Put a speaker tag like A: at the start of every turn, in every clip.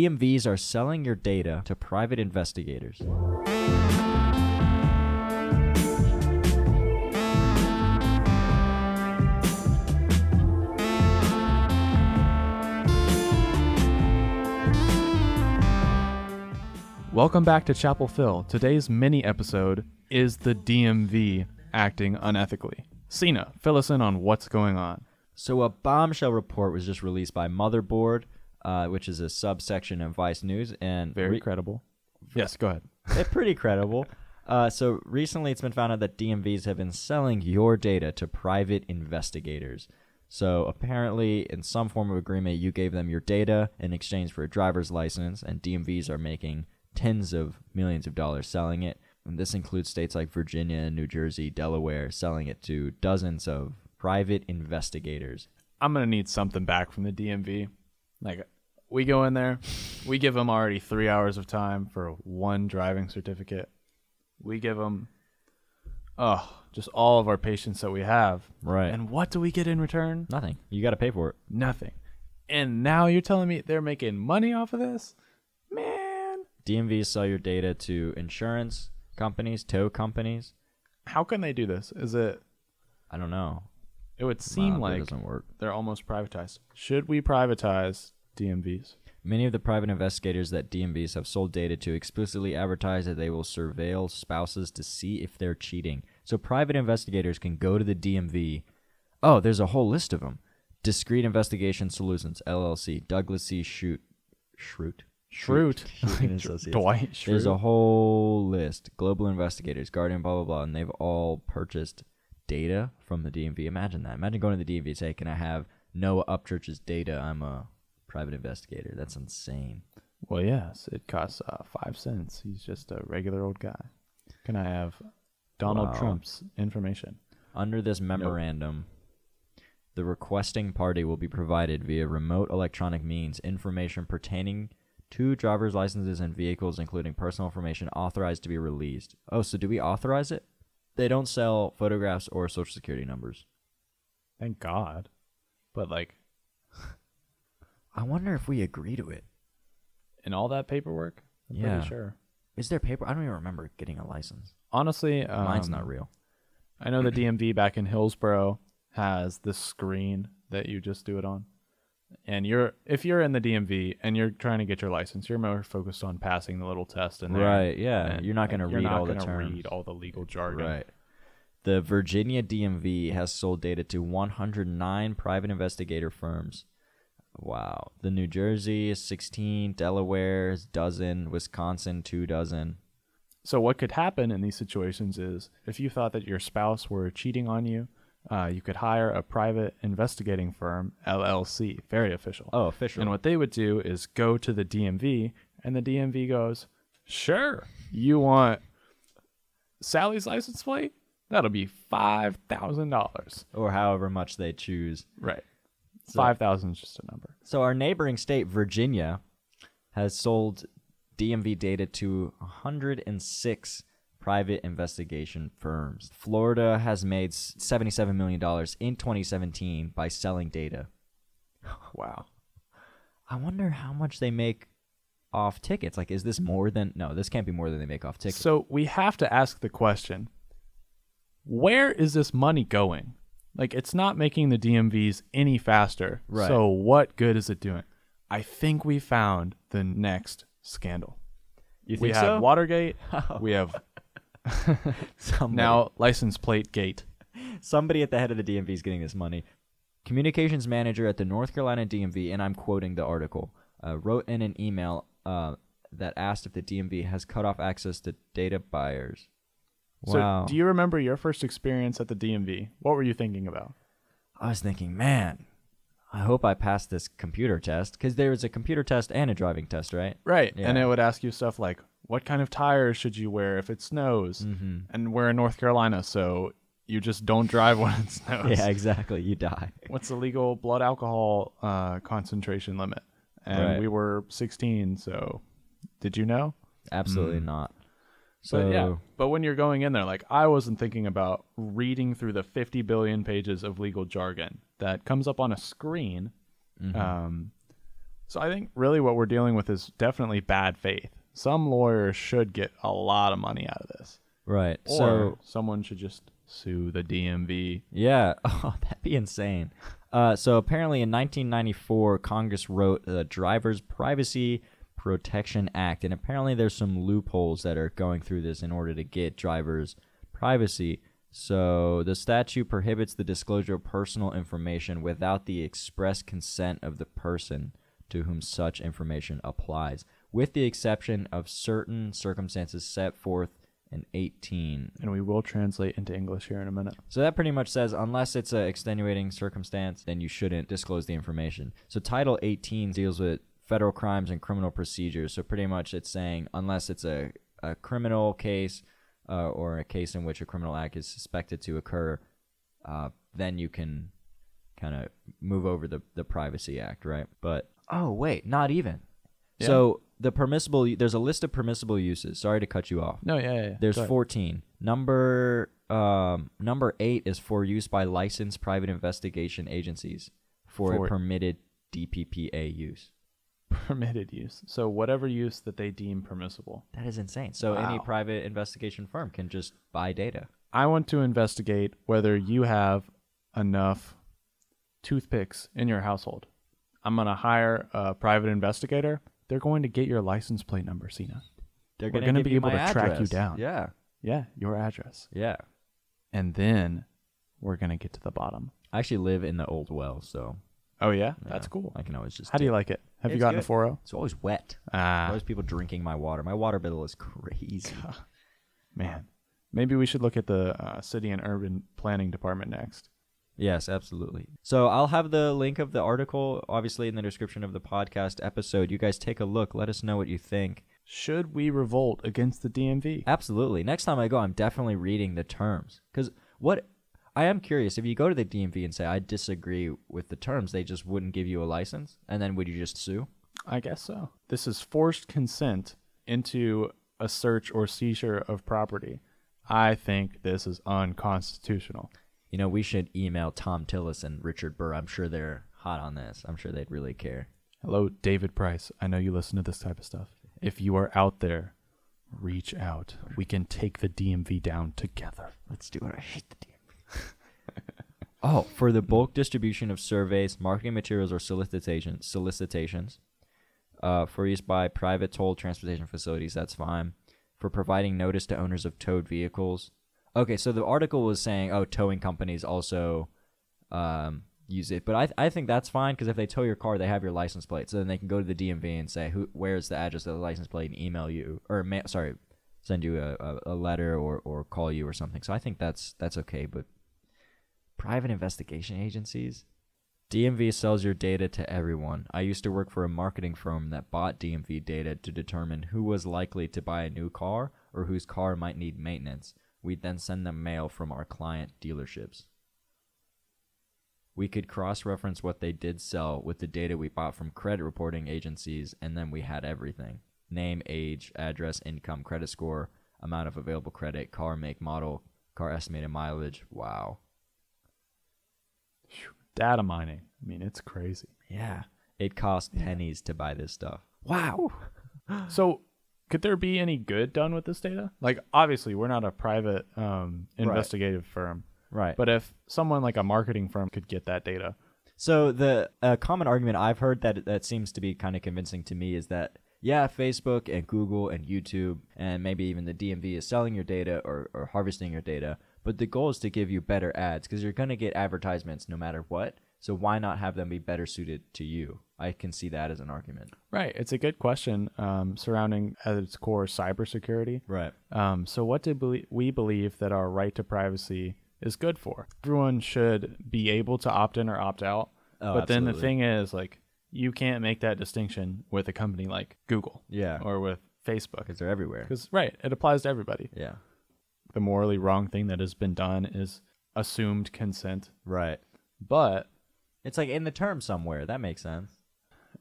A: DMVs are selling your data to private investigators.
B: Welcome back to Chapel Phil. Today's mini episode is the DMV acting unethically. Cena, fill us in on what's going on.
A: So, a bombshell report was just released by Motherboard, uh, which is a subsection of Vice News, and
B: Very
A: re-
B: credible. Yes, go ahead.
A: they're pretty credible. Uh, so recently, it's been found out that DMVs have been selling your data to private investigators. So apparently, in some form of agreement, you gave them your data in exchange for a driver's license, and DMVs are making tens of millions of dollars selling it. And this includes states like Virginia, New Jersey, Delaware, selling it to dozens of private investigators.
B: I'm gonna need something back from the DMV. Like, we go in there, we give them already three hours of time for one driving certificate. We give them, oh, just all of our patients that we have.
A: Right.
B: And what do we get in return?
A: Nothing. You got to pay for it.
B: Nothing. And now you're telling me they're making money off of this? Man,
A: DMVs sell your data to insurance companies, tow companies.
B: how can they do this? Is it?
A: I don't know.
B: It would seem
A: Wow, that
B: like
A: doesn't work.
B: they're almost privatized. Should we privatize DMVs?
A: Many of the private investigators that DMVs have sold data to explicitly advertise that they will surveil spouses to see if they're cheating. So private investigators can go to the DMV. Oh, there's a whole list of them. Discreet Investigation Solutions LLC, Douglas C. Shoot, Shroot.
B: Shroot.
A: Shroot and Associates.
B: Dwight Schrute.
A: There's a whole list. Global investigators, Guardian, blah blah blah, and they've all purchased data from the DMV. Imagine that. Imagine going to the DMV and say, "Can I have Noah Upchurch's data? I'm a private investigator." That's insane.
B: Well, yes, it costs uh, five cents. He's just a regular old guy. Can I have Donald
A: Wow.
B: Trump's information?
A: Under this memorandum, the requesting party will be provided via remote electronic means information pertaining to driver's licenses and vehicles, including personal information authorized to be released. Oh, so do we authorize it? They don't sell photographs or social security numbers.
B: Thank God. But like,
A: I wonder if we agree to it.
B: in all that paperwork, I'm
A: Yeah.
B: pretty sure.
A: Is there paper? I don't even remember getting a license.
B: Honestly, um,
A: Mine's not real.
B: I know the DMV back in Hillsboro has this screen that you just do it on. And you're if you're in the DMV and you're trying to get your license, you're more focused on passing the little test in there.
A: Right, yeah. You're not gonna read all the
B: gonna
A: terms.
B: read all the legal jargon.
A: Right. The Virginia DMV has sold data to 109 private investigator firms. Wow. The New Jersey is 16, Delaware is dozen, Wisconsin two dozen.
B: So what could happen in these situations is if you thought that your spouse were cheating on you, uh, you could hire a private investigating firm, LLC, very official.
A: Oh, official.
B: And what they would do is go to the DMV, and the DMV goes, "Sure, you want Sally's license plate? That'll be five thousand dollars."
A: or however much they choose.
B: Right. Five thousand is just a number.
A: So our neighboring state, Virginia, has sold DMV data to 106 private investigation firms. Florida has made s- $77 million in 2017 by selling data.
B: Wow.
A: I wonder how much they make off tickets. Like, is this more than? No, this can't be more than they make off tickets.
B: So we have to ask the question: Where is this money going? Like, it's not making the DMVs any faster.
A: Right.
B: So what good is it doing? I think we found the next scandal.
A: you
B: we have Watergate. We have
A: somebody,
B: now license plate gate.
A: somebody at the head of the DMV is getting this money. Communications manager at the North Carolina DMV, and I'm quoting the article, uh, wrote in an email uh, that asked if the DMV has cut off access to data buyers. Wow.
B: So, do you remember your first experience at the DMV? What were you thinking about?
A: I was thinking, man, I hope I pass this computer test because there was a computer test and a driving test, right?
B: Right. And
A: Yeah.
B: it would ask you stuff like, what kind of tires should you wear if it snows?
A: Mm-hmm.
B: And we're in North Carolina, so you just don't drive when it snows.
A: Yeah, exactly. You die.
B: What's the legal blood alcohol uh, concentration limit? And
A: Right.
B: we were 16, so did you know?
A: Absolutely not. So
B: Mm. But yeah. But when you're going in there, like I wasn't thinking about reading through the 50
A: Mm-hmm.
B: billion pages of legal jargon that comes up on a screen. Um, So I think really what we're dealing with is definitely bad faith. Some lawyers should get a lot of money out of this.
A: Right.
B: Or
A: so
B: someone should just sue the DMV.
A: yeah, oh, that'd be insane. Uh, so apparently, in 1994, Congress wrote the Driver's Privacy Protection Act, and apparently there's some loopholes that are going through this in order to get drivers privacy. So the statute prohibits the disclosure of personal information without the express consent of the person to whom such information applies, with the exception of certain circumstances set forth in 18
B: And we will translate into English here in a minute.
A: so that pretty much says unless it's a extenuating circumstance, then you shouldn't disclose the information. So Title 18 deals with federal crimes and criminal procedures. So pretty much it's saying unless it's a, a criminal case uh, or a case in which a criminal act is suspected to occur, uh, then you can kind of move over the, the Privacy Act, right? But oh, wait, not even.
B: Yeah.
A: So the permissible, there's a list of permissible uses. Sorry to cut you off.
B: No, yeah, yeah. yeah.
A: There's
B: Go ahead.
A: 14. Number um, number eight is for use by licensed private investigation agencies for,
B: For-
A: a permitted DPPA use.
B: permitted use. So whatever use that they deem permissible.
A: That is insane. So any
B: Wow.
A: private investigation firm can just buy data.
B: I want to investigate whether you have enough toothpicks in your household. I'm going to hire a private investigator. They're going to get your license plate number, Cena.
A: They're
B: We're
A: gonna
B: gonna
A: give
B: be
A: you
B: able
A: my
B: to track you
A: address.
B: down.
A: Yeah,
B: Yeah, your address.
A: yeah.
B: And then we're going to get to the bottom.
A: I actually live in the old well, so
B: Oh, yeah? That's cool.
A: I can always just.
B: How do you like it? Have you
A: It's
B: gotten
A: good.
B: a 4
A: It's always wet.
B: Ah,
A: Always people drinking my water. My water bill is crazy.
B: man. Maybe we should look at the uh, city and urban planning department next.
A: Yes, absolutely. So I'll have the link of the article, obviously, in the description of the podcast episode. You guys take a look. Let us know what you think.
B: Should we revolt against the DMV?
A: Absolutely. Next time I go, I'm definitely reading the terms. Because what I am curious if you go to the DMV and say, I disagree with the terms, they just wouldn't give you a license. And then would you just sue?
B: I guess so. This is forced consent into a search or seizure of property. I think this is unconstitutional.
A: You know, we should email Tom Tillis and Richard Burr. I'm sure they're hot on this. I'm sure they'd really care.
B: Hello, David Price. I know you listen to this type of stuff. If you are out there, reach out. We can take the DMV down together.
A: Let's do it. I hate the DMV. oh, for the bulk distribution of surveys, marketing materials, or solicitation, solicitations uh, for use by private toll transportation facilities, that's fine. For providing notice to owners of towed vehicles. Okay, so the article was saying, oh, towing companies also um, use it, but I, I think that's fine because if they tow your car, they have your license plate, so then they can go to the DMV and say, who, where's the address of the license plate, and email you or ma- sorry, send you a, a, a letter or, or call you or something. So I think that's that's okay, but private investigation agencies. DMV sells your data to everyone. I used to work for a marketing firm that bought DMV data to determine who was likely to buy a new car or whose car might need maintenance. We'd then send them mail from our client dealerships. We could cross reference what they did sell with the data we bought from credit reporting agencies, and then we had everything name, age, address, income, credit score, amount of available credit, car make, model, car estimated mileage. Wow.
B: Data mining. I mean, it's crazy.
A: Yeah. It cost pennies to buy this stuff. Wow.
B: So, could there be any good done with this data? Like, obviously, we're not a private um, investigative firm,
A: Right.
B: but if someone like a marketing firm could get that data,
A: So the uh, common argument I've heard that that seems to be kind of convincing to me is that yeah, Facebook and Google and YouTube and maybe even the DMV is selling your data or, or harvesting your data, but the goal is to give you better ads because you're going to get advertisements no matter what. So why not have them be better suited to you? I can see that as an argument.
B: Right. It's a good question um, surrounding at its core cybersecurity.
A: Right.
B: Um, so, what do belie- we believe that our right to privacy is good for? Everyone should be able to opt in or opt out.
A: Oh,
B: but then the
A: absolutely.
B: thing is, like, you can't make that distinction with a company like Google
A: Yeah.
B: or with Facebook.
A: Because they're everywhere.
B: Because, right, it applies to everybody.
A: Yeah.
B: The morally wrong thing that has been done is assumed consent.
A: Right.
B: But
A: It's like in the term somewhere. That makes sense.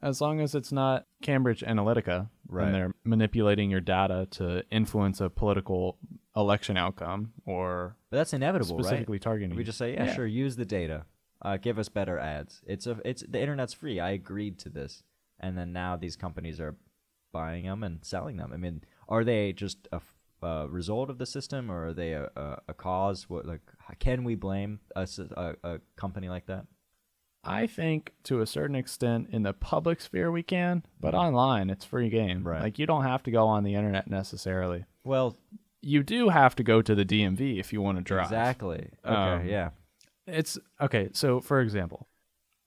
B: as long as it's not Cambridge Analytica
A: Right.
B: and they're manipulating your data to influence a political election outcome or
A: But that's inevitable, right?
B: specifically targeting.
A: We
B: you.
A: just say, yeah, sure, use the data. Uh, give us better ads. It's a, it's the internet's free. I agreed to this. and then now these companies are buying them and selling them. I mean, are they just a, f- a result of the system, or are they a, a, a cause? What like can we blame a, s- a- a company like that?
B: I think to a certain extent in the public sphere we can, but online it's free game.
A: Mm. Right.
B: Like you don't have to go on the internet necessarily.
A: Well,
B: You do have to go to the DMV if you want to drive.
A: exactly. Okay,
B: Um,
A: yeah,
B: It's okay. So for example,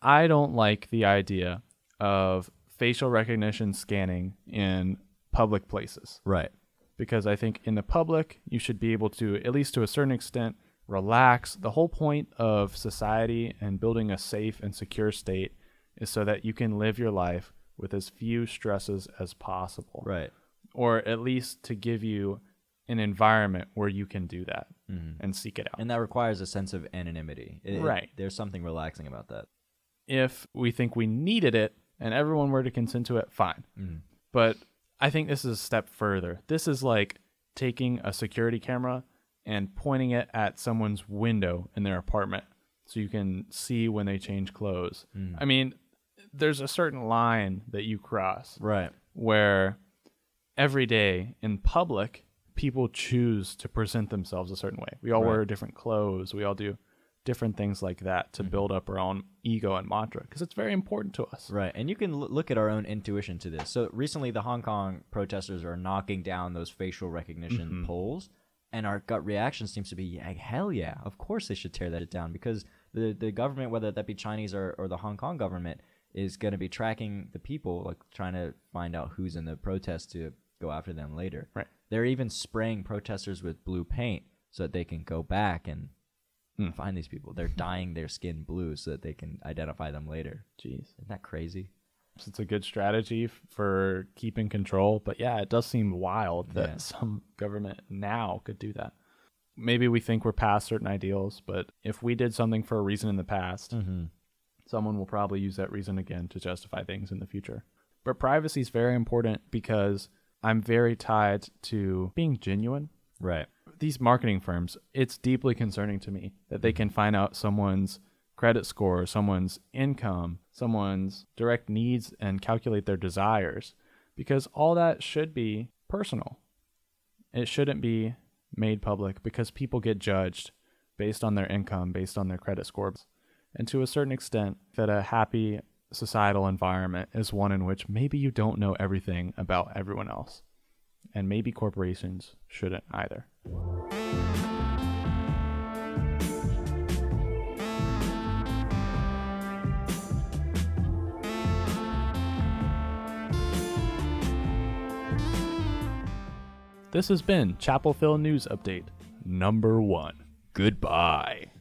B: I don't like the idea of facial recognition scanning in public places
A: right.
B: because I think in the public you should be able to at least to a certain extent relax. The whole point of society and building a safe and secure state is so that you can live your life with as few stresses as possible
A: Right.
B: or at least to give you an environment where you can do that and seek it out.
A: And that requires a sense of anonymity. It- it-
B: Right.
A: there's something relaxing about that.
B: if we think we needed it and everyone were to consent to it, fine. But I think this is a step further. This is like taking a security camera and pointing it at someone's window in their apartment so you can see when they change clothes. I mean, there's a certain line that you cross
A: Right.
B: where every day in public people choose to present themselves a certain way. We all wear different clothes, we all do different things like that to build up our own ego and mantra because it's very important to us.
A: Right. And you can l- look at our own intuition to this. So recently, the Hong Kong protesters are knocking down those facial recognition poles, and our gut reaction seems to be, yeah, hell yeah, of course they should tear that down because the, the government, whether that be Chinese or, or the Hong Kong government, is going to be tracking the people, like trying to find out who's in the protest to go after them later.
B: Right.
A: They're even spraying protesters with blue paint so that they can go back and find these people. They're dyeing their skin blue so that they can identify them later.
B: Jeez.
A: Isn't that crazy?
B: So It's a good strategy f- for keeping control, but yeah, it does seem wild that
A: Yeah.
B: some government now could do that. Maybe we think we're past certain ideals, but if we did something for a reason in the past, someone will probably use that reason again to justify things in the future. But privacy is very important because I'm very tied to being genuine.
A: Right.
B: These marketing firms, it's deeply concerning to me that they can find out someone's credit score, someone's income, someone's direct needs, and calculate their desires because all that should be personal. It shouldn't be made public because people get judged based on their income, based on their credit scores. And to a certain extent, that a happy societal environment is one in which maybe you don't know everything about everyone else. And maybe corporations shouldn't either. This has been Chapel Hill News Update number one. Goodbye.